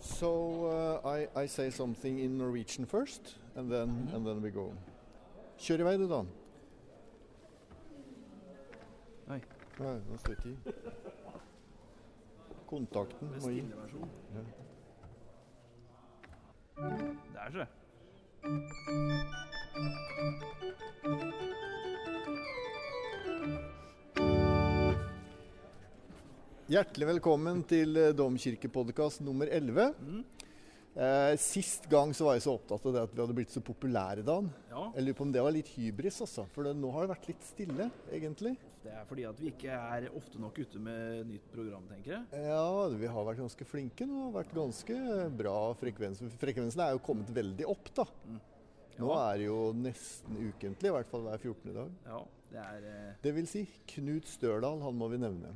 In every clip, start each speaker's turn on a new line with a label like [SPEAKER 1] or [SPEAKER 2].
[SPEAKER 1] So uh, I, I say something in Norwegian first, and then and then we go. Kjør i vei, du, Dan.
[SPEAKER 2] Oi.
[SPEAKER 1] Nei, den står ikke i. Kontakten må gi.
[SPEAKER 2] Der, så.
[SPEAKER 1] Hjertelig velkommen til eh, Domkirkepodkast nummer 11.
[SPEAKER 2] Mm.
[SPEAKER 1] Eh, sist gang så var jeg så opptatt av det at vi hadde blitt så populære, Dan.
[SPEAKER 2] Ja,
[SPEAKER 1] Jeg lurer på om det var litt hybris, altså. For det, nå har det vært litt stille, egentlig.
[SPEAKER 2] det er fordi at vi ikke er ofte nok ute med nytt program, tenker jeg.
[SPEAKER 1] Ja, vi har vært ganske flinke nå. og Vært ganske bra frekvens. Frekvensen er jo kommet veldig opp, da. Nå
[SPEAKER 2] Mm. Ja.
[SPEAKER 1] er det jo nesten ukentlig, i hvert fall hver 14. dag.
[SPEAKER 2] Ja, det er eh,
[SPEAKER 1] Det vil si Knut Størdal, han må vi nevne.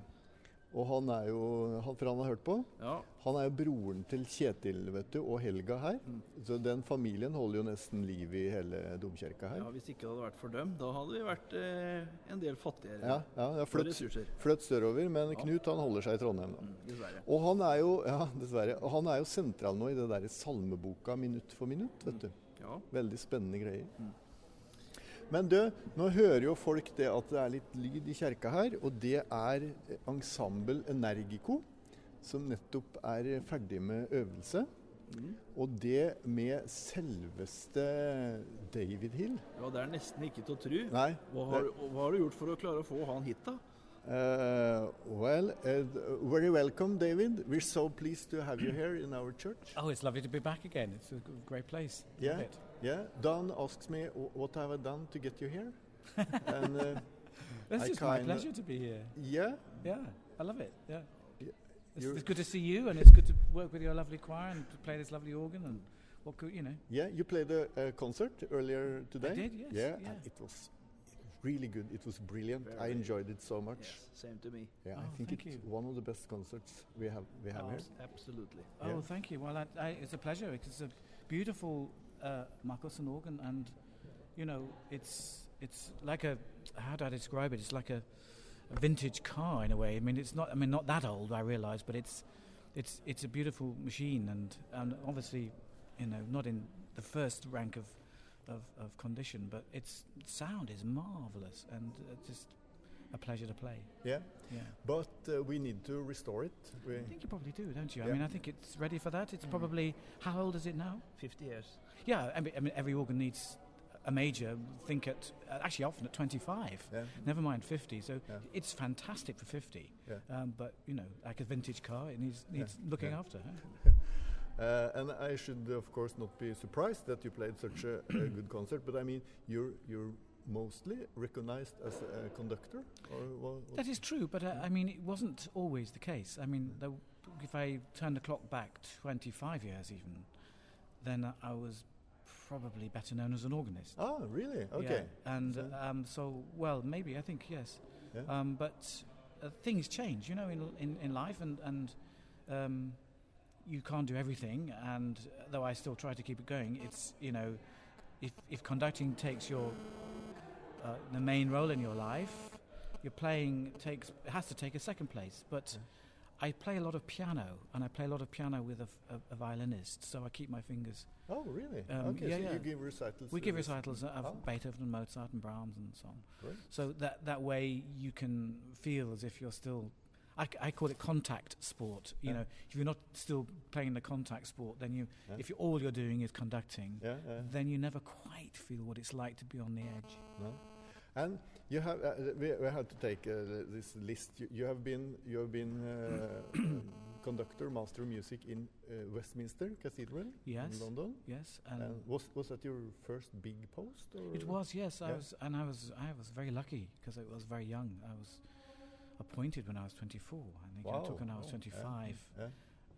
[SPEAKER 1] Og han er jo, han, for han har hørt på,
[SPEAKER 2] Ja,
[SPEAKER 1] han er jo broren til Kjetil vet du, og Helga her.
[SPEAKER 2] Mm.
[SPEAKER 1] Så den familien holder jo nesten liv i hele domkirka her.
[SPEAKER 2] ja hvis ikke det hadde vært for dem, da hadde vi vært eh, en del fattigere
[SPEAKER 1] Ja, ja, ja
[SPEAKER 2] på
[SPEAKER 1] fløtt,
[SPEAKER 2] ressurser.
[SPEAKER 1] fløtt sørover, men
[SPEAKER 2] Ja.
[SPEAKER 1] Knut han holder seg i Trondheim nå.
[SPEAKER 2] Mm, dessverre.
[SPEAKER 1] Og han er jo ja, dessverre, og han er jo sentral nå i det der salmeboka minutt for minutt. vet du.
[SPEAKER 3] Mm.
[SPEAKER 2] Ja.
[SPEAKER 1] Veldig spennende greier.
[SPEAKER 2] Mm.
[SPEAKER 1] Men du, nå hører jo folk det at det er litt lyd i kjerka her, og det er eh, Ensemble Energico, som nettopp er ferdig med øvelse.
[SPEAKER 2] Mm.
[SPEAKER 1] Og det med selveste David Hill.
[SPEAKER 2] ja, det er nesten ikke til å tru.
[SPEAKER 1] Nei.
[SPEAKER 2] Hva har, og hva har du gjort for å klare å få han hit, da?
[SPEAKER 1] eh, well, eh, very welcome, David. We're so pleased to have you here in our church.
[SPEAKER 4] Oh, it's lovely to be back again. It's a g- great place. Love
[SPEAKER 1] Yeah.
[SPEAKER 4] it.
[SPEAKER 1] Yeah, Dan asks me "Wh- what have I done to get you here, and uh,
[SPEAKER 4] It's
[SPEAKER 1] I
[SPEAKER 4] just my
[SPEAKER 1] kinda-
[SPEAKER 4] pleasure to be here.
[SPEAKER 1] yeah,
[SPEAKER 4] Yeah, I love it. Yeah.
[SPEAKER 1] Yeah,
[SPEAKER 4] It's,
[SPEAKER 1] you're-
[SPEAKER 4] it's good to see you, and it's good to work with your lovely choir and to play this lovely organ. And what could you know?
[SPEAKER 1] yeah, you played a, a concert earlier today.
[SPEAKER 4] did, yes,
[SPEAKER 1] Yeah,
[SPEAKER 4] yeah.
[SPEAKER 1] and it was really good. It was brilliant. I
[SPEAKER 2] Very.
[SPEAKER 1] enjoyed it so much.
[SPEAKER 2] Yes, same to me.
[SPEAKER 1] Yeah, I
[SPEAKER 4] Oh,
[SPEAKER 1] think
[SPEAKER 4] thank
[SPEAKER 1] it's
[SPEAKER 4] you.
[SPEAKER 1] one of the best concerts we have we have here.
[SPEAKER 2] Abs- Absolutely.
[SPEAKER 4] Oh,
[SPEAKER 1] Yeah.
[SPEAKER 4] thank you. Well, I, I, it's a pleasure. It's a beautiful uh, Marcosson organ, and you know, it's it's like a how do I describe it? It's like a, a vintage car in a way. I mean, it's not. I mean, not that old. I realise, but it's it's it's a beautiful machine, and and obviously, you know, not in the first rank of. Of, of condition, but its sound is marvelous and uh, just a pleasure to play.
[SPEAKER 1] Yeah,
[SPEAKER 4] Yeah,
[SPEAKER 1] but uh, we need to restore it. We,
[SPEAKER 4] I think you probably do, don't you?
[SPEAKER 1] Yeah. Mm.
[SPEAKER 4] I mean, I think it's ready for that. It's probably how old is it now?
[SPEAKER 2] 50 years.
[SPEAKER 4] Yeah, I mean, I mean, every organ needs a major. Think at uh, actually often at 25.
[SPEAKER 1] yeah,
[SPEAKER 4] Never mind 50. So
[SPEAKER 1] Yeah.
[SPEAKER 4] it's fantastic for 50.
[SPEAKER 1] Yeah.
[SPEAKER 4] Um, but you know, like a vintage car, it needs
[SPEAKER 1] Yeah,
[SPEAKER 4] needs looking
[SPEAKER 1] yeah.
[SPEAKER 4] after. Huh?
[SPEAKER 1] uh, and I should of course not be surprised that you played such a, a good concert. But I mean, you're you're mostly recognized as a conductor, or wha- what?
[SPEAKER 4] That is true, but
[SPEAKER 1] Mm.
[SPEAKER 4] uh, I mean, it wasn't always the case. I mean, the, if I turn the clock back 25 years even, then I was probably better known as an organist.
[SPEAKER 1] Ah, really?
[SPEAKER 4] Yeah,
[SPEAKER 1] Okay.
[SPEAKER 4] And
[SPEAKER 1] So-
[SPEAKER 4] um, so, well, maybe I think yes.
[SPEAKER 1] Yeah.
[SPEAKER 4] Um, but uh, things change, you know, in in, in life, and and um, you can't do everything. And uh, though I still try to keep it going, it's you know, if if conducting takes your uh, the main role in your life, your playing takes has to take a second place. But I play a lot of piano, and I play a lot of piano with a, f- a- a violinist, so I keep my fingers.
[SPEAKER 1] Oh, really?
[SPEAKER 4] Um,
[SPEAKER 1] okay,
[SPEAKER 4] yeah,
[SPEAKER 1] so you
[SPEAKER 4] yeah.
[SPEAKER 1] give recitals.
[SPEAKER 4] We
[SPEAKER 1] uh,
[SPEAKER 4] give
[SPEAKER 1] this-
[SPEAKER 4] recitals of
[SPEAKER 1] Oh.
[SPEAKER 4] Beethoven and Mozart and Brahms and so on.
[SPEAKER 1] Great.
[SPEAKER 4] So that that way you can feel as if you're still. I, c- I call it contact sport. You
[SPEAKER 1] Yeah.
[SPEAKER 4] know, if you're not still playing the contact sport, then you,
[SPEAKER 1] Yeah.
[SPEAKER 4] if you, all you're doing is conducting,
[SPEAKER 1] Yeah, yeah.
[SPEAKER 4] then you never quite feel what it's like to be on the edge.
[SPEAKER 1] No. And you have uh, we, we have to take uh, th- this list. You, you have been you have been uh, uh, conductor, master of music in uh, Westminster Cathedral in
[SPEAKER 4] Yes.
[SPEAKER 1] London.
[SPEAKER 4] Yes, and
[SPEAKER 1] and was was that your first big post? Or?
[SPEAKER 4] it was. Yes, I
[SPEAKER 1] Yeah.
[SPEAKER 4] was, and I was, I was very lucky because I was very young. I was appointed when I was 24. I think I
[SPEAKER 1] Wow.
[SPEAKER 4] took when I was
[SPEAKER 1] Oh, yeah.
[SPEAKER 4] 25.
[SPEAKER 1] Yeah.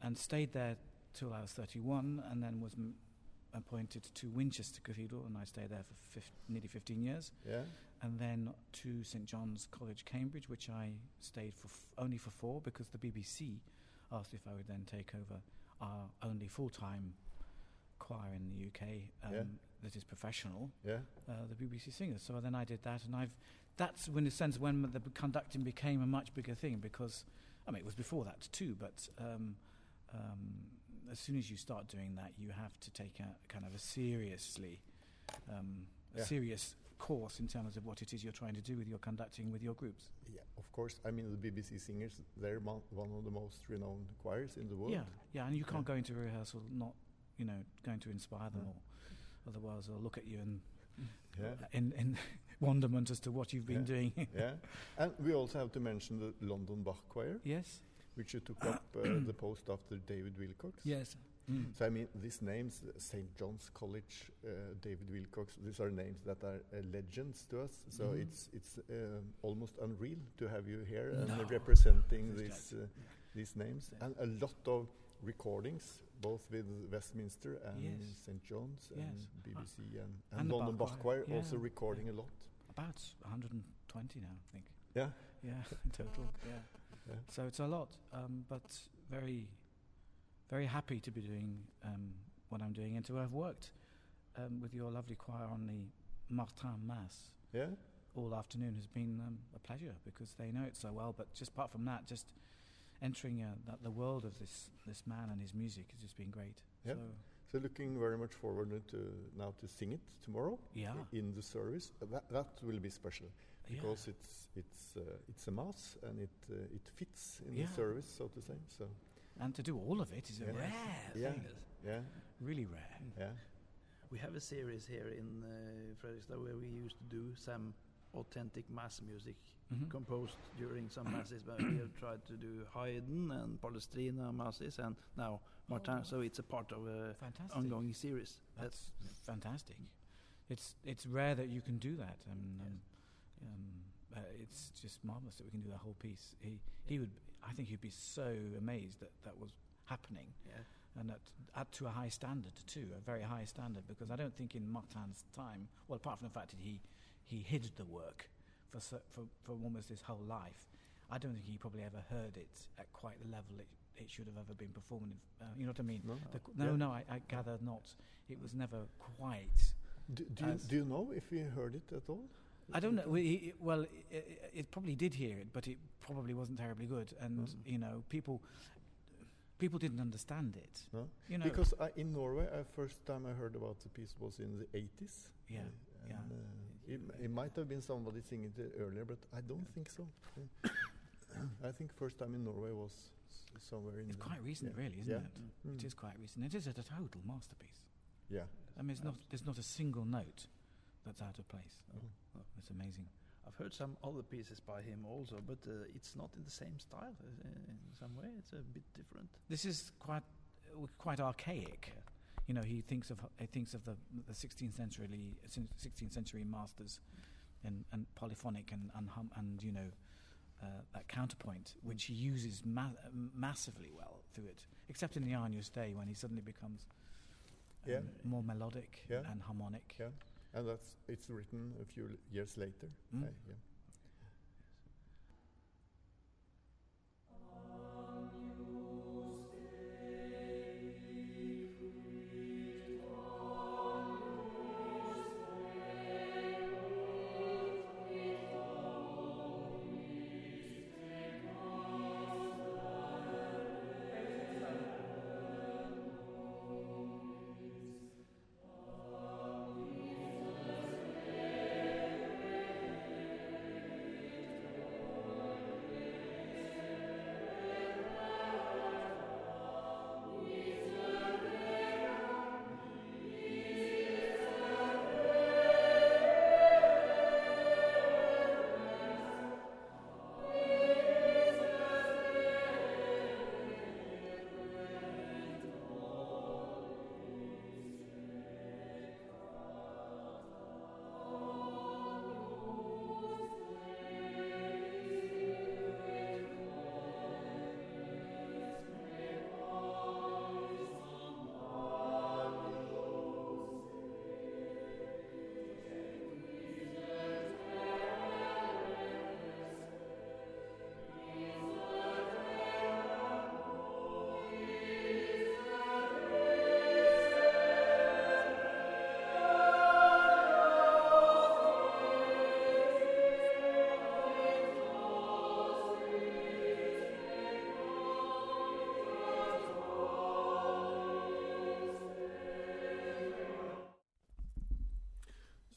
[SPEAKER 4] and stayed there till I was 31, and then was m- appointed to Winchester Cathedral, and I stayed there for fif- nearly 15 years,
[SPEAKER 1] Yeah.
[SPEAKER 4] and then to St John's College, Cambridge, which I stayed for f- only for four because the BBC asked if I would then take over our only full-time choir in the UK um,
[SPEAKER 1] Yeah.
[SPEAKER 4] that is professional,
[SPEAKER 1] Yeah.
[SPEAKER 4] uh, the BBC singers. So then I did that, and I've that's when, in a sense, when the b- conducting became a much bigger thing because, I mean, it was before that too, but um, um, as soon as you start doing that, you have to take a kind of a seriously, um, a
[SPEAKER 1] Yeah.
[SPEAKER 4] serious course in terms of what it is you're trying to do with your conducting with your groups.
[SPEAKER 1] Yeah, of course. I mean, the BBC singers, they're mo- one of the most renowned choirs in the world.
[SPEAKER 4] Yeah, yeah, and you can't
[SPEAKER 1] Yeah.
[SPEAKER 4] go into rehearsal not, you know, going to inspire them
[SPEAKER 1] Mm.
[SPEAKER 4] or otherwise they'll look at you and
[SPEAKER 1] Yeah.
[SPEAKER 4] in, in wonderment as to what you've been
[SPEAKER 1] Yeah.
[SPEAKER 4] doing.
[SPEAKER 1] yeah. And we also have to mention the London Bach Choir,
[SPEAKER 4] yes.
[SPEAKER 1] which you took up uh, the post after David Wilcox.
[SPEAKER 4] Yes. Mm.
[SPEAKER 1] So I mean, these names, uh, St. John's College, uh, David Wilcox, these are names that are uh, legends to us. So
[SPEAKER 4] Mhm.
[SPEAKER 1] it's it's um, almost unreal to have you here and
[SPEAKER 4] No.
[SPEAKER 1] representing
[SPEAKER 4] This is
[SPEAKER 1] these uh, these names and a lot of recordings, both with Westminster and
[SPEAKER 4] Yes.
[SPEAKER 1] St. John's and
[SPEAKER 4] Yes. Uh,
[SPEAKER 1] BBC and, and,
[SPEAKER 4] and the
[SPEAKER 1] London
[SPEAKER 4] Bach
[SPEAKER 1] Bach
[SPEAKER 4] Choir,
[SPEAKER 1] Choir also
[SPEAKER 4] yeah.
[SPEAKER 1] recording a lot.
[SPEAKER 4] About 120 now, I think.
[SPEAKER 1] Yeah.
[SPEAKER 4] Yeah, in total. Yeah.
[SPEAKER 1] Yeah.
[SPEAKER 4] So it's a lot, um, but very, very happy to be doing um, what I'm doing and to have worked um, with your lovely choir on the Martin Mass
[SPEAKER 1] Yeah.
[SPEAKER 4] all afternoon has been um, a pleasure because they know it so well. But just apart from that, just entering uh, that, the world of this, this man and his music has just been great.
[SPEAKER 1] Yeah.
[SPEAKER 4] So,
[SPEAKER 1] So looking very much forward to now to sing it tomorrow
[SPEAKER 4] yeah.
[SPEAKER 1] in the service. Uh, That that will be special.
[SPEAKER 4] Ah. yeah.
[SPEAKER 1] because it's it's uh, it's a mass and it uh, it fits in
[SPEAKER 4] Yeah.
[SPEAKER 1] the service, so to say. So
[SPEAKER 4] And to do all of it is a
[SPEAKER 1] Yeah.
[SPEAKER 4] rare
[SPEAKER 1] Yeah. Mm.
[SPEAKER 4] thing.
[SPEAKER 1] yeah,
[SPEAKER 4] Really rare.
[SPEAKER 1] yeah,
[SPEAKER 2] We have a series here in uh, Fredrikstad where we used to do some authentic mass music
[SPEAKER 4] Mhm.
[SPEAKER 2] composed during some masses, but we have tried to do Haydn and Palestrina masses and now Martin.
[SPEAKER 4] Oh.
[SPEAKER 2] So it's a part of a
[SPEAKER 4] Fantastic.
[SPEAKER 2] ongoing series. That's
[SPEAKER 4] That's fantastic. It's it's rare that you can do that. Um, um, um, uh, it's just marvelous that we can do the whole piece. He he would. I think he'd be so amazed that that was happening
[SPEAKER 2] yeah.
[SPEAKER 4] and at, at to a high standard too, a very high standard. Because I don't think in Martin's time, well, apart from the fact that he he hid the work for so, for, for almost his whole life, I don't think he probably ever heard it at quite the level it, it should have ever been performed. In, uh, you know what I mean?
[SPEAKER 1] no.
[SPEAKER 4] The, no,
[SPEAKER 1] Yeah.
[SPEAKER 4] no, I, I gather not. It was never quite.
[SPEAKER 1] Do, do, you,
[SPEAKER 4] As-
[SPEAKER 1] do you know if we heard it at all?
[SPEAKER 4] I don't know. we- he- Well, i- i- it probably did hear it, but it probably wasn't terribly good. And
[SPEAKER 1] Mm.
[SPEAKER 4] you know, people people didn't understand it.
[SPEAKER 1] No.
[SPEAKER 4] You know,
[SPEAKER 1] Because I, in Norway, I first time I heard about the piece was in the 80s. uh,
[SPEAKER 4] Yeah, yeah.
[SPEAKER 1] and, uh, it, m- it might have been somebody singing it earlier, but I don't think so. Yeah. I think first time in Norway was s- somewhere in
[SPEAKER 4] it's
[SPEAKER 1] the-
[SPEAKER 4] quite recent,
[SPEAKER 1] yeah.
[SPEAKER 4] really, isn't
[SPEAKER 1] Yeah.
[SPEAKER 4] it?
[SPEAKER 1] Mm.
[SPEAKER 4] It is quite recent. It is a total masterpiece.
[SPEAKER 1] Yeah.
[SPEAKER 4] I mean, it's not, there's not a single note that's out of place.
[SPEAKER 1] Oh.
[SPEAKER 4] It's amazing.
[SPEAKER 2] I've heard some other pieces by him also, but uh, it's not in the same style uh, in some way. It's a bit different.
[SPEAKER 4] This is quite uh, quite archaic. You know, he thinks of he thinks of the, the 16th century 16th century masters and, and polyphonic and and, hum, and you know uh, that counterpoint, which he uses ma- massively well through it, except in the Arnius Day when he suddenly becomes um,
[SPEAKER 1] Yeah.
[SPEAKER 4] more melodic
[SPEAKER 1] Yeah.
[SPEAKER 4] and harmonic.
[SPEAKER 1] Yeah. And that's it's written a few l- years later.
[SPEAKER 4] Mm.
[SPEAKER 1] I- yeah.
[SPEAKER 3] Amen.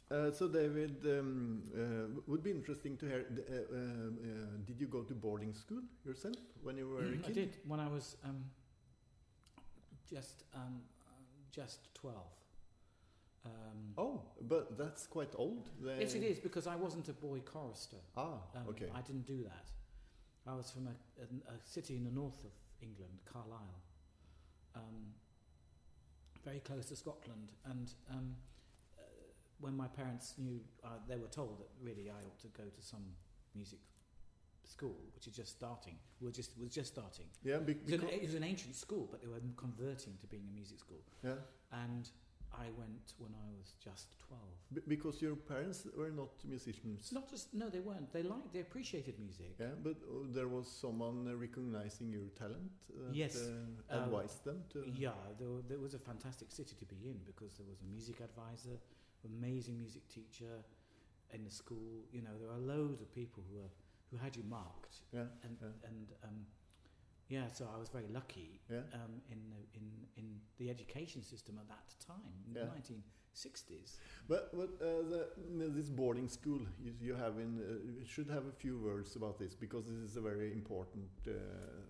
[SPEAKER 1] Uh, so, David, um, uh, would be interesting to hear. d- Uh, uh, uh, did you go to boarding school yourself when you were a
[SPEAKER 4] Mm, I
[SPEAKER 1] kid?
[SPEAKER 4] did when I was um, just um, uh, just twelve. Um,
[SPEAKER 1] Oh, but that's quite old.
[SPEAKER 4] Yes, it
[SPEAKER 1] They-
[SPEAKER 4] is because I wasn't a boy chorister.
[SPEAKER 1] Ah,
[SPEAKER 4] Um,
[SPEAKER 1] Uh, okay.
[SPEAKER 4] I didn't do that. I was from a, a, a city in the north of England, Carlisle, um, very close to Scotland. And um, uh, when my parents knew, uh, they were told that really I ought to go to some music school, which is just starting. We're just was just starting.
[SPEAKER 1] yeah, be-
[SPEAKER 4] It was, an,
[SPEAKER 1] becau-
[SPEAKER 4] it was an ancient school, but they were converting to being a music school.
[SPEAKER 1] yeah,
[SPEAKER 4] And I went when I was just twelve.
[SPEAKER 1] be- because your parents were not musicians.
[SPEAKER 4] It's not just no, they weren't. They liked, they appreciated music.
[SPEAKER 1] Yeah, but uh, there was someone uh, recognizing your talent. That,
[SPEAKER 4] Yes,
[SPEAKER 1] Uh,
[SPEAKER 4] um,
[SPEAKER 1] advised them to.
[SPEAKER 4] Yeah, there, wa- there was a fantastic city to be in because there was a music advisor, amazing music teacher in the school. You know, there are loads of people who were who had you marked,
[SPEAKER 1] Yeah.
[SPEAKER 4] and
[SPEAKER 1] Yeah.
[SPEAKER 4] and um, yeah. So I was very lucky
[SPEAKER 1] Yeah.
[SPEAKER 4] um, in the, in in the education system at that time, in the
[SPEAKER 1] Yeah.
[SPEAKER 4] nineteen sixties.
[SPEAKER 1] But, but uh, the, no, this boarding school you, you have in uh, you should have a few words about this because this is a very important uh,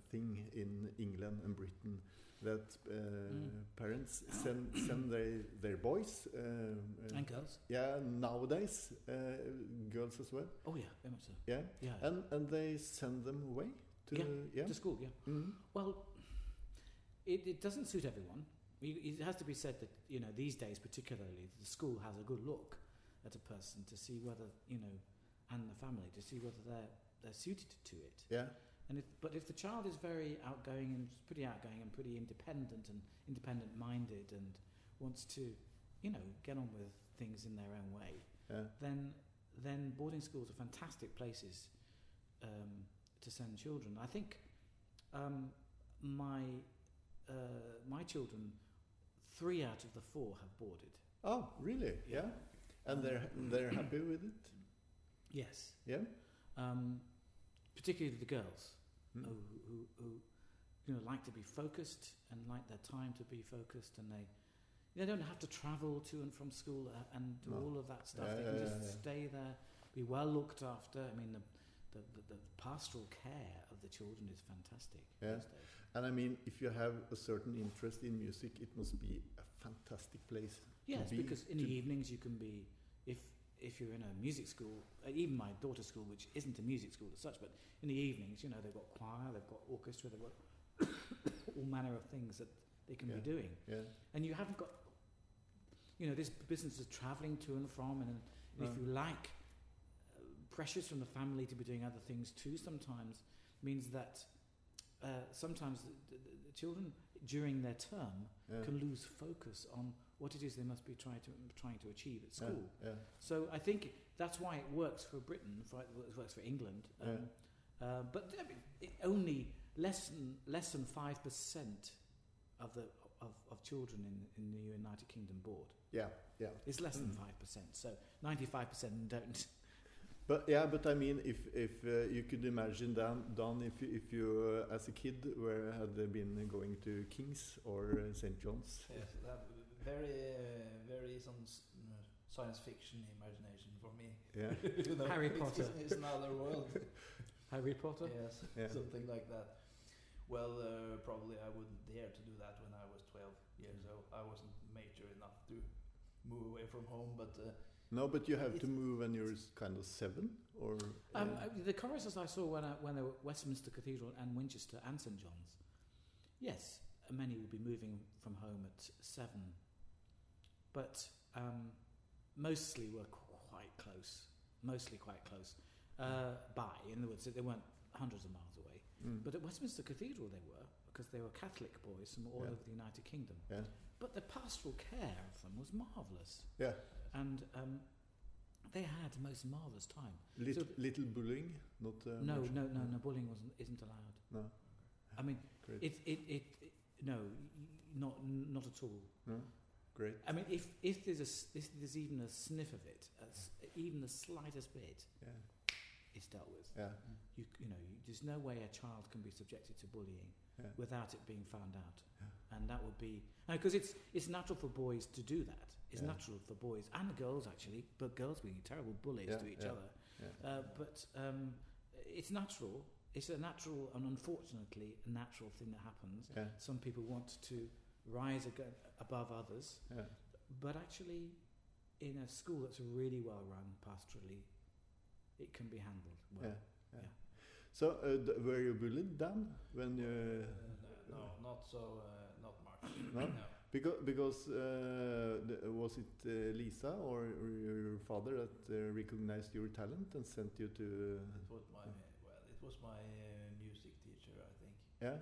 [SPEAKER 1] thing in England and Britain that uh,
[SPEAKER 4] Mm.
[SPEAKER 1] parents send send their their boys. Uh, uh,
[SPEAKER 4] And girls,
[SPEAKER 1] yeah, nowadays uh, girls as well.
[SPEAKER 4] oh yeah, very much so.
[SPEAKER 1] Yeah,
[SPEAKER 4] Yeah,
[SPEAKER 1] and and they send them away to
[SPEAKER 4] Yeah,
[SPEAKER 1] yeah.
[SPEAKER 4] to school, yeah.
[SPEAKER 1] Mhm.
[SPEAKER 4] Well, it, it doesn't suit everyone. You- It has to be said that you know these days, particularly, the school has a good look at a person to see whether you know, and the family to see whether they're they're suited to it.
[SPEAKER 1] Yeah,
[SPEAKER 4] And if, but if the child is very outgoing and pretty outgoing and pretty independent and independent-minded and wants to, you know, get on with things in their own way,
[SPEAKER 1] yeah.
[SPEAKER 4] then then boarding schools are fantastic places um, to send children. I think um, my uh, my children, three out of the four have boarded.
[SPEAKER 1] Oh, really? Yeah.
[SPEAKER 4] Yeah.
[SPEAKER 1] And they're they're happy with it.
[SPEAKER 4] Yes,
[SPEAKER 1] Yeah.
[SPEAKER 4] um, particularly the girls
[SPEAKER 1] Mm.
[SPEAKER 4] who, who, who you know like to be focused and like their time to be focused, and they they don't have to travel to and from school uh, and do
[SPEAKER 1] No.
[SPEAKER 4] all of that stuff.
[SPEAKER 1] Yeah,
[SPEAKER 4] they
[SPEAKER 1] yeah,
[SPEAKER 4] can
[SPEAKER 1] yeah,
[SPEAKER 4] just
[SPEAKER 1] yeah.
[SPEAKER 4] stay there, be well looked after. I mean the. The, the, the pastoral care of the children is fantastic.
[SPEAKER 1] Yeah.
[SPEAKER 4] these days.
[SPEAKER 1] And I mean, if you have a certain interest in music, it must be a fantastic place.
[SPEAKER 4] Yes,
[SPEAKER 1] be-
[SPEAKER 4] because in
[SPEAKER 1] to-
[SPEAKER 4] the evenings you can be if if you're in a music school, uh, even my daughter's school, which isn't a music school as such, but in the evenings, you know, they've got choir, they've got orchestra, they've got all manner of things that they can
[SPEAKER 1] Yeah.
[SPEAKER 4] be doing,
[SPEAKER 1] Yeah.
[SPEAKER 4] and you haven't got, you know, this business of travelling to and from, and, and if
[SPEAKER 1] No.
[SPEAKER 4] you like uh, pressures from the family to be doing other things too, sometimes means that uh, sometimes the, the, the children during their term
[SPEAKER 1] Yeah.
[SPEAKER 4] can lose focus on what it is they must be trying to trying to achieve at
[SPEAKER 1] Yeah,
[SPEAKER 4] school.
[SPEAKER 1] Yeah.
[SPEAKER 4] So I think that's why it works for Britain, for- it works for England. Um, uh, but I mean, it only less than less than five percent of the of, of children in, in the United Kingdom board.
[SPEAKER 1] Yeah. Yeah.
[SPEAKER 4] It's less than
[SPEAKER 1] Mm.
[SPEAKER 4] five percent. So ninety five percent don't.
[SPEAKER 1] But yeah, but I mean, if if uh, you could imagine Dan, Dan, if you, if you uh, as a kid were had been going to Kings or uh, St John's.
[SPEAKER 3] Yes, that very, uh, very some s- uh, science fiction imagination for me.
[SPEAKER 1] Yeah.
[SPEAKER 3] You know,
[SPEAKER 4] Harry
[SPEAKER 3] it's-
[SPEAKER 4] Potter.
[SPEAKER 3] It's, it's another world.
[SPEAKER 4] Harry Potter.
[SPEAKER 3] yes,
[SPEAKER 1] Yeah.
[SPEAKER 3] something like that. Well, uh, probably I wouldn't dare to do that when I was 12 years old. I wasn't mature enough to move away from home, but uh,
[SPEAKER 1] No, but you have to
[SPEAKER 3] It's-
[SPEAKER 1] move when you're s- kind of seven or.
[SPEAKER 4] Um,
[SPEAKER 1] uh,
[SPEAKER 4] uh, the choruses I saw when I, when they were at Westminster Cathedral and Winchester and St John's, yes, many will be moving from home at seven, but um, mostly were qu- quite close, mostly quite close uh, by. In other words, they weren't hundreds of miles away.
[SPEAKER 1] mm.
[SPEAKER 4] But at Westminster Cathedral they were because they were Catholic boys from all
[SPEAKER 1] Yeah.
[SPEAKER 4] over the United Kingdom.
[SPEAKER 1] Yeah.
[SPEAKER 4] But the pastoral care of them was marvellous.
[SPEAKER 1] Yeah.
[SPEAKER 4] And um, they had the most marvellous time.
[SPEAKER 1] little,
[SPEAKER 4] th-
[SPEAKER 1] little bullying, not. Uh,
[SPEAKER 4] No,
[SPEAKER 1] much.
[SPEAKER 4] no, no, no. Bullying wasn't, isn't allowed.
[SPEAKER 1] No.
[SPEAKER 4] I mean,
[SPEAKER 1] Great.
[SPEAKER 4] it, it, it, it no, not, not at all.
[SPEAKER 1] No? Great.
[SPEAKER 4] I mean, if, if there's a, s- if there's even a sniff of it, a s even the slightest bit,
[SPEAKER 1] Yeah.
[SPEAKER 4] it's dealt with.
[SPEAKER 1] Yeah.
[SPEAKER 4] You, you know, you, there's no way a child can be subjected to bullying
[SPEAKER 1] Yeah.
[SPEAKER 4] without it being found out
[SPEAKER 1] Yeah.
[SPEAKER 4] and and that would be because it's it's natural for boys to do that. It's
[SPEAKER 1] Yeah.
[SPEAKER 4] natural for boys and girls actually, but girls being terrible bullies
[SPEAKER 1] Yeah,
[SPEAKER 4] to each
[SPEAKER 1] yeah,
[SPEAKER 4] other.
[SPEAKER 1] yeah.
[SPEAKER 4] Uh, but um, it's natural. It's a natural and unfortunately a natural thing that happens.
[SPEAKER 1] Ja,
[SPEAKER 4] Some people want to rise aga above others,
[SPEAKER 1] ja.
[SPEAKER 4] but actually, in a school that's really well run pastorally, it can be handled well.
[SPEAKER 1] Yeah. So, uh, d- were you bullied then when you...
[SPEAKER 3] Uh, no, not so, uh, not much.
[SPEAKER 1] No? Because, because uh, the, was it uh, Lisa or your father that uh, recognized your talent and sent you to...
[SPEAKER 3] It was my, well, it was my uh, music teacher, I think.
[SPEAKER 1] Yeah?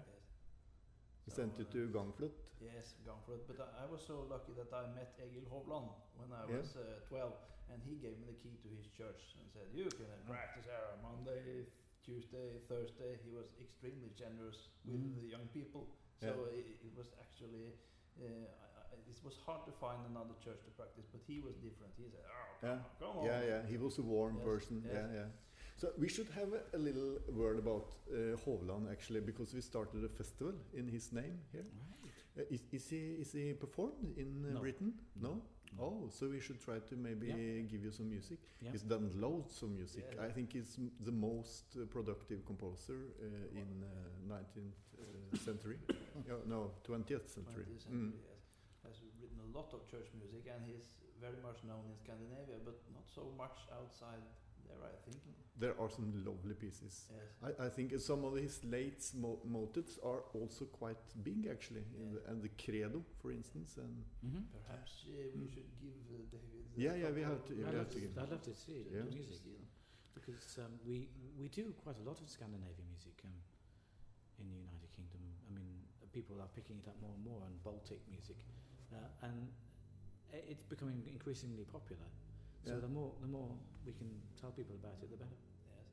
[SPEAKER 3] Yes. So,
[SPEAKER 1] Sent you
[SPEAKER 3] uh,
[SPEAKER 1] to Gangflut?
[SPEAKER 3] Yes, Gangflot. But I, I was so lucky that I met Egil Hovland when I
[SPEAKER 1] Yeah.
[SPEAKER 3] was uh, 12, and he gave me the key to his church and said, You can uh, practice here on Monday, Tuesday, Thursday. He was extremely generous with
[SPEAKER 4] Mm.
[SPEAKER 3] the young people. So
[SPEAKER 1] Yeah.
[SPEAKER 3] it, it was actually. Uh, I, I, it was hard to find another church to practice, but he was different. He said, "Oh, come
[SPEAKER 1] Yeah.
[SPEAKER 3] on, come on!"
[SPEAKER 1] Yeah, yeah. He was a warm
[SPEAKER 3] Yes,
[SPEAKER 1] person.
[SPEAKER 3] yes.
[SPEAKER 1] Yeah, yeah. So we should have a, a little word about uh, Hovland actually, because we started a festival in his name here.
[SPEAKER 4] Right.
[SPEAKER 1] Uh, is, is he is he performed in uh,
[SPEAKER 4] No.
[SPEAKER 1] Britain? No.
[SPEAKER 4] No.
[SPEAKER 1] Oh, so we should try to maybe give you some music.
[SPEAKER 4] Yeah.
[SPEAKER 1] He's done loads of music.
[SPEAKER 3] Yeah.
[SPEAKER 1] I think he's m- the most uh, productive composer uh, in uh, 19th uh, century. Yeah, no, 20th century.
[SPEAKER 3] 20th
[SPEAKER 1] Mm.
[SPEAKER 3] century, yes. Has written a lot of church music, and he's very much known in Scandinavia, but not so much outside there, I think.
[SPEAKER 1] There are some lovely pieces.
[SPEAKER 3] Yes.
[SPEAKER 1] I, I think some of his late mo- motives are also quite big, actually, in
[SPEAKER 3] Yeah.
[SPEAKER 1] the, and the credo, for instance, and
[SPEAKER 4] Mm-hmm.
[SPEAKER 3] Perhaps uh, we
[SPEAKER 1] Mm.
[SPEAKER 3] should give uh, David. a
[SPEAKER 1] Yeah, yeah, we
[SPEAKER 3] couple
[SPEAKER 1] have
[SPEAKER 3] of
[SPEAKER 1] to- yeah, we have
[SPEAKER 4] I'd,
[SPEAKER 3] minutes
[SPEAKER 4] love
[SPEAKER 1] to
[SPEAKER 4] to,
[SPEAKER 1] give
[SPEAKER 4] I'd love to see it,
[SPEAKER 1] Yeah.
[SPEAKER 4] the
[SPEAKER 3] just to
[SPEAKER 4] music,
[SPEAKER 3] see them.
[SPEAKER 4] because um, we we do quite a lot of Scandinavian music um, in the United Kingdom. I mean, uh, people are picking it up more and more on Baltic music, uh, and i- it's becoming increasingly popular. So
[SPEAKER 1] Yeah.
[SPEAKER 4] the more the more we can tell people about it, the better.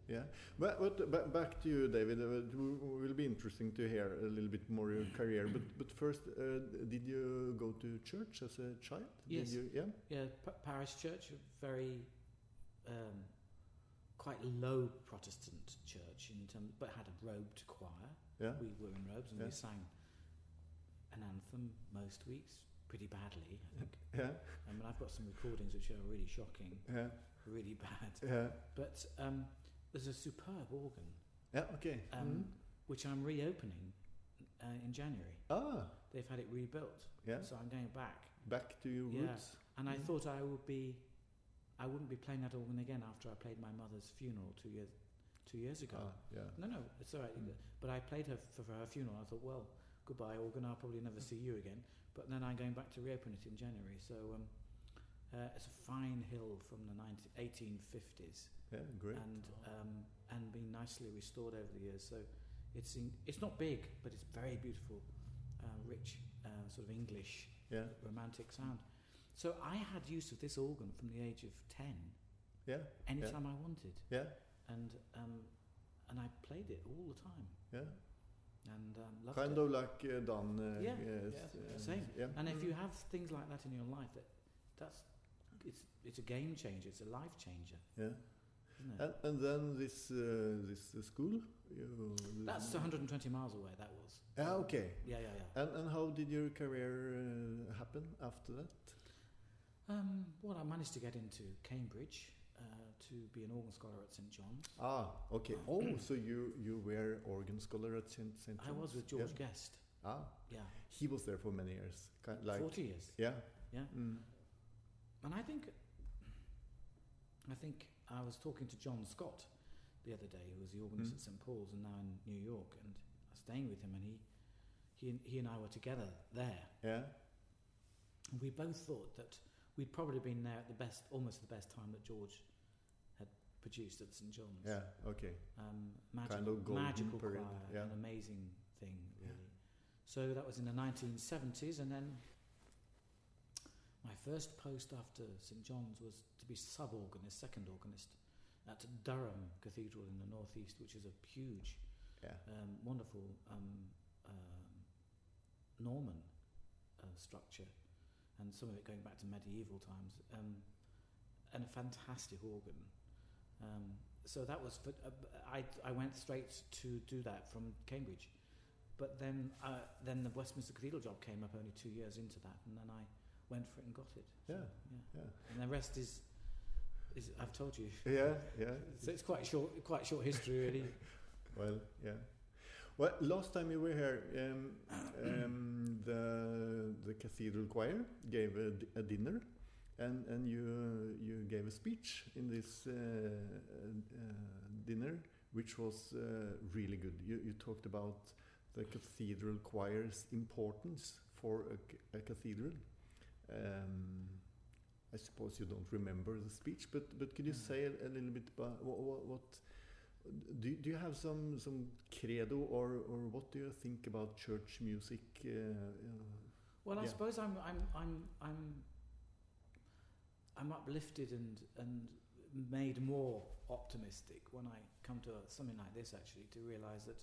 [SPEAKER 3] Yes.
[SPEAKER 1] yeah. But, but ba- back to you, David. Uh, It w- will be interesting to hear a little bit more your career. But but first, uh, did you go to church as a child?
[SPEAKER 4] Yes.
[SPEAKER 1] Did you, yeah.
[SPEAKER 4] Yeah, pa- parish church, a very um, quite low Protestant church in term, but had a robed choir.
[SPEAKER 1] Yeah.
[SPEAKER 4] We were in robes and
[SPEAKER 1] Yeah.
[SPEAKER 4] we sang an anthem most weeks, pretty badly, I think.
[SPEAKER 1] Yeah.
[SPEAKER 4] I mean, I've got some recordings which are really shocking,
[SPEAKER 1] Yeah.
[SPEAKER 4] really bad.
[SPEAKER 1] Yeah.
[SPEAKER 4] But um, there's a superb organ,
[SPEAKER 1] Yeah. Okay.
[SPEAKER 4] um,
[SPEAKER 1] Mhm.
[SPEAKER 4] which I'm reopening uh, in January.
[SPEAKER 1] Ah.
[SPEAKER 4] They've had it rebuilt,
[SPEAKER 1] Yeah.
[SPEAKER 4] so I'm going back.
[SPEAKER 1] Back to your
[SPEAKER 4] Yeah.
[SPEAKER 1] roots.
[SPEAKER 4] And I
[SPEAKER 1] Mhm.
[SPEAKER 4] thought I would be, I wouldn't be playing that organ again after I played my mother's funeral two years, two years ago.
[SPEAKER 1] Ah, yeah.
[SPEAKER 4] No, no, it's all right.
[SPEAKER 1] Mm.
[SPEAKER 4] But I played her for, for her funeral. I thought, well, goodbye, organ. I'll probably
[SPEAKER 1] Hmm.
[SPEAKER 4] never see you again. But then I'm going back to reopen it in January. So um, uh, it's a fine hill from the 19, 1850s,
[SPEAKER 1] Yeah. Great.
[SPEAKER 4] and um, and been nicely restored over the years. So it's in, it's not big, but it's very beautiful, uh, rich, uh, sort of English
[SPEAKER 1] Yeah.
[SPEAKER 4] romantic sound. So I had use of this organ from the age of ten,
[SPEAKER 1] Yeah.
[SPEAKER 4] anytime I wanted,
[SPEAKER 1] Yeah.
[SPEAKER 4] and um, and I played it all the time
[SPEAKER 1] Yeah.
[SPEAKER 4] and um, loved
[SPEAKER 1] Kind
[SPEAKER 4] it.
[SPEAKER 1] of like uh, Dan. Uh,
[SPEAKER 4] Yeah,
[SPEAKER 1] yes,
[SPEAKER 3] yeah,
[SPEAKER 1] uh,
[SPEAKER 4] same.
[SPEAKER 1] Yeah.
[SPEAKER 4] And if you have things like that in your life, that that's it's it's a game changer. It's a life changer,
[SPEAKER 1] Yeah.
[SPEAKER 4] isn't it?
[SPEAKER 1] And, and then this uh, this uh, school. You,
[SPEAKER 4] that's 120 miles away. That was.
[SPEAKER 1] Ah, okay.
[SPEAKER 4] Yeah, yeah, yeah.
[SPEAKER 1] And and how did your career uh, happen after that?
[SPEAKER 4] Um, well, I managed to get into Cambridge uh, to be an organ scholar at St John's.
[SPEAKER 1] Ah, okay. Oh, so you you were organ scholar at Saint Saint.
[SPEAKER 4] I was
[SPEAKER 1] John's?
[SPEAKER 4] with George
[SPEAKER 1] Yeah.
[SPEAKER 4] Guest.
[SPEAKER 1] Ah,
[SPEAKER 4] Yeah,
[SPEAKER 1] he was there for many years. Kind like
[SPEAKER 4] 40 years.
[SPEAKER 1] yeah.
[SPEAKER 4] Yeah.
[SPEAKER 1] Mm.
[SPEAKER 4] And I think, I think I was talking to John Scott the other day, who was the organist
[SPEAKER 1] Mm.
[SPEAKER 4] at St Paul's and now in New York, and I was staying with him, and he, he, and- he and I were together there,
[SPEAKER 1] Yeah.
[SPEAKER 4] and we both thought that we'd probably been there at the best, almost the best time that George had produced at St John's.
[SPEAKER 1] Yeah. Okay.
[SPEAKER 4] Um, magic,
[SPEAKER 1] Kind of golden
[SPEAKER 4] magical
[SPEAKER 1] period,
[SPEAKER 4] choir,
[SPEAKER 1] yeah.
[SPEAKER 4] an amazing thing,
[SPEAKER 1] Yeah.
[SPEAKER 4] really. So that was in the 1970s, and then my first post after St John's was to be sub organist, second organist at Durham Cathedral in the northeast, which is a huge,
[SPEAKER 1] Yeah.
[SPEAKER 4] um, wonderful um, um, Norman uh, structure, and some of it going back to medieval times, um, and a fantastic organ. Um, so that was, for, uh, I, I went straight to do that from Cambridge. But then, uh, then the Westminster Cathedral job came up only two years into that, and then I went for it and got it. So,
[SPEAKER 1] Yeah,
[SPEAKER 4] yeah.
[SPEAKER 1] yeah.
[SPEAKER 4] And the rest is, is I've told you.
[SPEAKER 1] Yeah, yeah.
[SPEAKER 4] So it's quite short, quite short history, really.
[SPEAKER 1] Well, yeah. Well, last time you were here, um, um, the the cathedral choir gave a, d- a dinner, and and you uh, you gave a speech in this uh, uh, dinner, which was uh, really good. You you talked about the cathedral choir's importance for a, c- a cathedral. Um, I suppose you don't remember the speech, but but could you
[SPEAKER 4] Mm.
[SPEAKER 1] say a, a little bit about what, what do, you- do you have some, some credo or, or what do you think about church music? Uh, uh,
[SPEAKER 4] Well, I
[SPEAKER 1] Yeah.
[SPEAKER 4] suppose I'm, I'm, I'm, I'm, I'm uplifted and and made more optimistic when I come to something like this. Actually, to realise that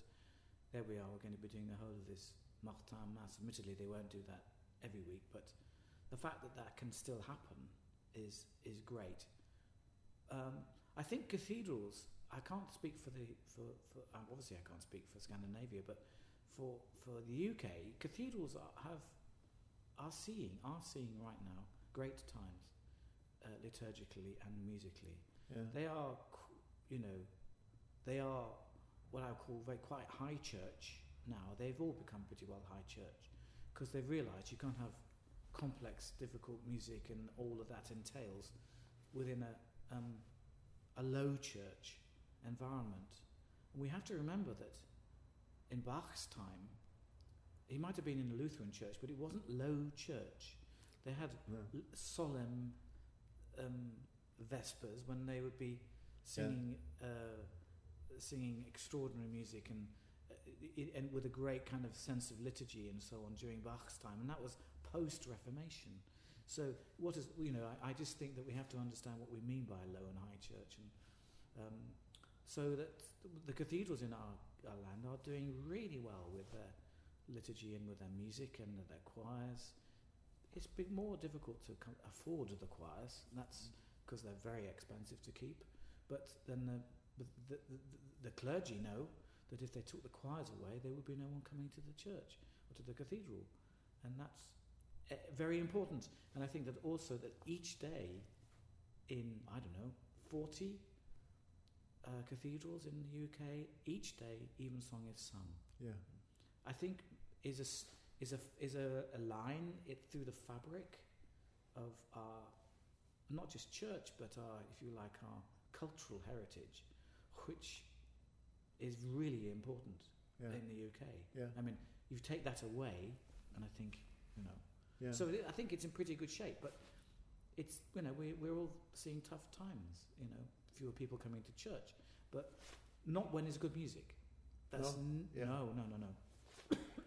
[SPEAKER 4] there we are, we're going to be doing the whole of this Martin Mass. Admittedly, they won't do that every week, but the fact that that can still happen is is great. Um, I think cathedrals. I can't speak for the for, for um, obviously I can't speak for Scandinavia, but for for the UK, cathedrals are, have are seeing are seeing right now great times uh, liturgically and musically.
[SPEAKER 1] uh, yeah.
[SPEAKER 4] They are, qu- you know, they are what I would call very quite high church now. They've all become pretty well high church because they've realised you can't have complex, difficult music and all of that entails within a um, a low church environment. We have to remember that in Bach's time, he might have been in a Lutheran church, but it wasn't low church. They had
[SPEAKER 1] No.
[SPEAKER 4] l- solemn um, vespers when they would be singing uh, singing extraordinary music and uh, i i- and with a great kind of sense of liturgy and so on during Bach's time, and that was post Reformation. So what is you know I, I just think that we have to understand what we mean by low and high church, and um, so that the cathedrals in our, our land are doing really well with their liturgy and with their music and with their choirs. It's been more difficult to com- afford the choirs. and That's because they're very expensive to keep. But then the, but the, the, the, the clergy know that if they took the choirs away, there would be no one coming to the church or to the cathedral. And that's eh, very important. And I think that also that each day in, I don't know, 40 uh, cathedrals in the UK, each day Evensong is sung.
[SPEAKER 1] yeah.
[SPEAKER 4] I think is a s- is a is a, a line it through the fabric of our not just church but our if you like our cultural heritage, which is really important
[SPEAKER 1] Yeah.
[SPEAKER 4] in the UK.
[SPEAKER 1] Yeah.
[SPEAKER 4] I mean, you take that away, and I think you know.
[SPEAKER 1] Yeah.
[SPEAKER 4] So it, I think it's in pretty good shape, but it's you know we, we're all seeing tough times. You know, fewer people coming to church, but not when it's good music. That's
[SPEAKER 1] No,
[SPEAKER 4] n-
[SPEAKER 1] yeah.
[SPEAKER 4] no, no, no, no.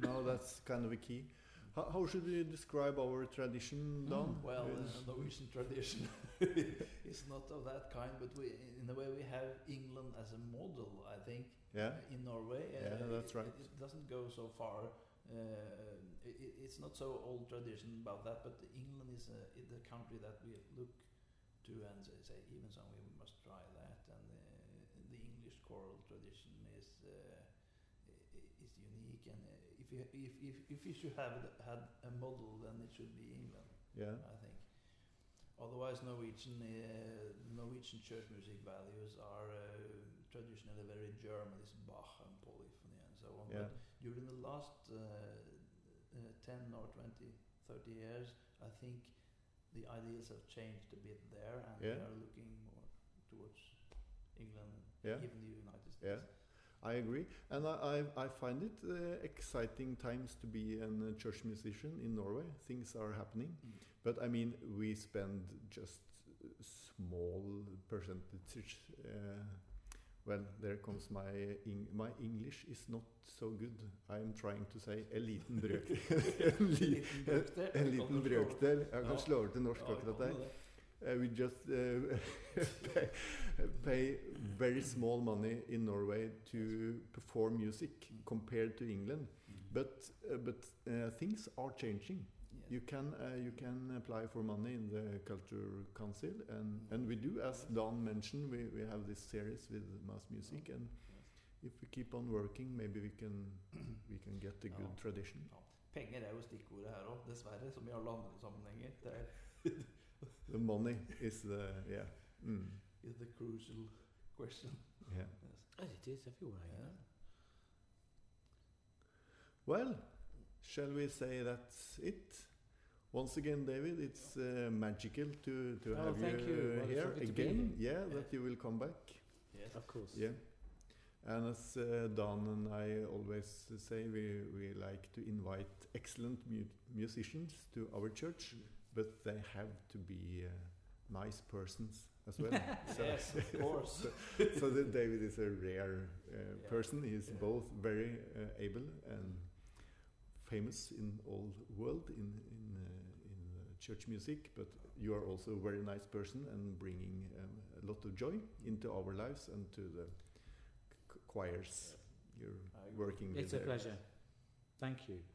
[SPEAKER 1] now that's kind of a key. How, how should we describe our tradition, Don?
[SPEAKER 3] Mm, Well,
[SPEAKER 1] Uh,
[SPEAKER 3] uh, Norwegian tradition is not of that kind, but we, in a way, we have England as a model, I think,
[SPEAKER 1] yeah,
[SPEAKER 3] in Norway. uh,
[SPEAKER 1] Yeah, that's
[SPEAKER 3] it,
[SPEAKER 1] right.
[SPEAKER 3] It, it doesn't go so far. Uh, it, it- it's not so old tradition about that, but England is a, is the country that we look to and say, say, even so, we must try that. And uh, the English choral tradition is uh, i- i- is unique. And uh, if you if if if you should have th- had a model, then it should be England,
[SPEAKER 1] yeah,
[SPEAKER 3] I think. Otherwise, Norwegian uh, Norwegian church music values are uh, traditionally very German. It's Bach and polyphony and so on.
[SPEAKER 1] yeah,
[SPEAKER 3] But during the last uh, uh, 10 or 20, 30 years, I think the ideas have changed a bit there and we
[SPEAKER 1] Yeah.
[SPEAKER 3] are looking more towards England,
[SPEAKER 1] yeah.
[SPEAKER 3] even the United
[SPEAKER 1] Yeah.
[SPEAKER 3] States.
[SPEAKER 1] I agree, and I, I, I find it uh, exciting times to be a church musician in Norway. Things are happening,
[SPEAKER 3] Mm.
[SPEAKER 1] but I mean, we spend just uh, small percentage. Uh, well, there comes my Eng- my English is not so good. I am trying to say en liten brøkdel. en, li
[SPEAKER 3] Liten brøkdel,
[SPEAKER 1] en liten brøkdel.
[SPEAKER 3] jeg kan forstå.
[SPEAKER 1] Jeg
[SPEAKER 3] Ja.
[SPEAKER 1] kan slå over til norsk
[SPEAKER 3] Ja,
[SPEAKER 1] akkurat
[SPEAKER 3] kan
[SPEAKER 1] der.
[SPEAKER 3] du det?
[SPEAKER 1] Uh, we just uh, pay, pay very small money in Norway to perform music
[SPEAKER 3] Mm.
[SPEAKER 1] compared to England.
[SPEAKER 3] Mm.
[SPEAKER 1] But uh, but uh, things are changing.
[SPEAKER 3] Yes.
[SPEAKER 1] You can uh, you can apply for money in the Culture Council, and
[SPEAKER 3] Mm.
[SPEAKER 1] and we do, as Don mentioned, we, we have this series with mass music, and if we keep on working, maybe we can we can get a good
[SPEAKER 3] Ja.
[SPEAKER 1] tradition.
[SPEAKER 3] Penger er jo stikkordet her òg, dessverre, som i alle andre sammenhenger. Det er
[SPEAKER 1] The money is the yeah. Mm,
[SPEAKER 3] is the crucial question.
[SPEAKER 1] yeah.
[SPEAKER 3] Yes.
[SPEAKER 4] It is everywhere.
[SPEAKER 3] you know.
[SPEAKER 1] Well, shall we say that's it? Once again, David, it's uh, magical to, to
[SPEAKER 4] Oh,
[SPEAKER 1] have
[SPEAKER 4] thank you.
[SPEAKER 1] you,
[SPEAKER 4] Well, it's
[SPEAKER 1] here
[SPEAKER 4] lovely to be
[SPEAKER 1] again.
[SPEAKER 4] here.
[SPEAKER 1] Yeah, that you will come back.
[SPEAKER 3] Yes.
[SPEAKER 4] Of course.
[SPEAKER 1] Yeah. And as uh, Dan and I always say, we, we like to invite excellent mu- musicians to our
[SPEAKER 4] Mm.
[SPEAKER 1] church, but they have to be uh, nice persons as well. So-
[SPEAKER 3] Yes, of course.
[SPEAKER 1] so, so that David is a rare uh,
[SPEAKER 3] Yeah.
[SPEAKER 1] person. He's
[SPEAKER 3] Yeah.
[SPEAKER 1] both very uh, able and famous in all world in in uh, in uh, church music, but you are also a very nice person and bringing um, a lot of joy into our lives and to the c- choirs you're
[SPEAKER 3] I agree.
[SPEAKER 1] working with.
[SPEAKER 4] It's a
[SPEAKER 1] there.
[SPEAKER 4] pleasure. Thank you.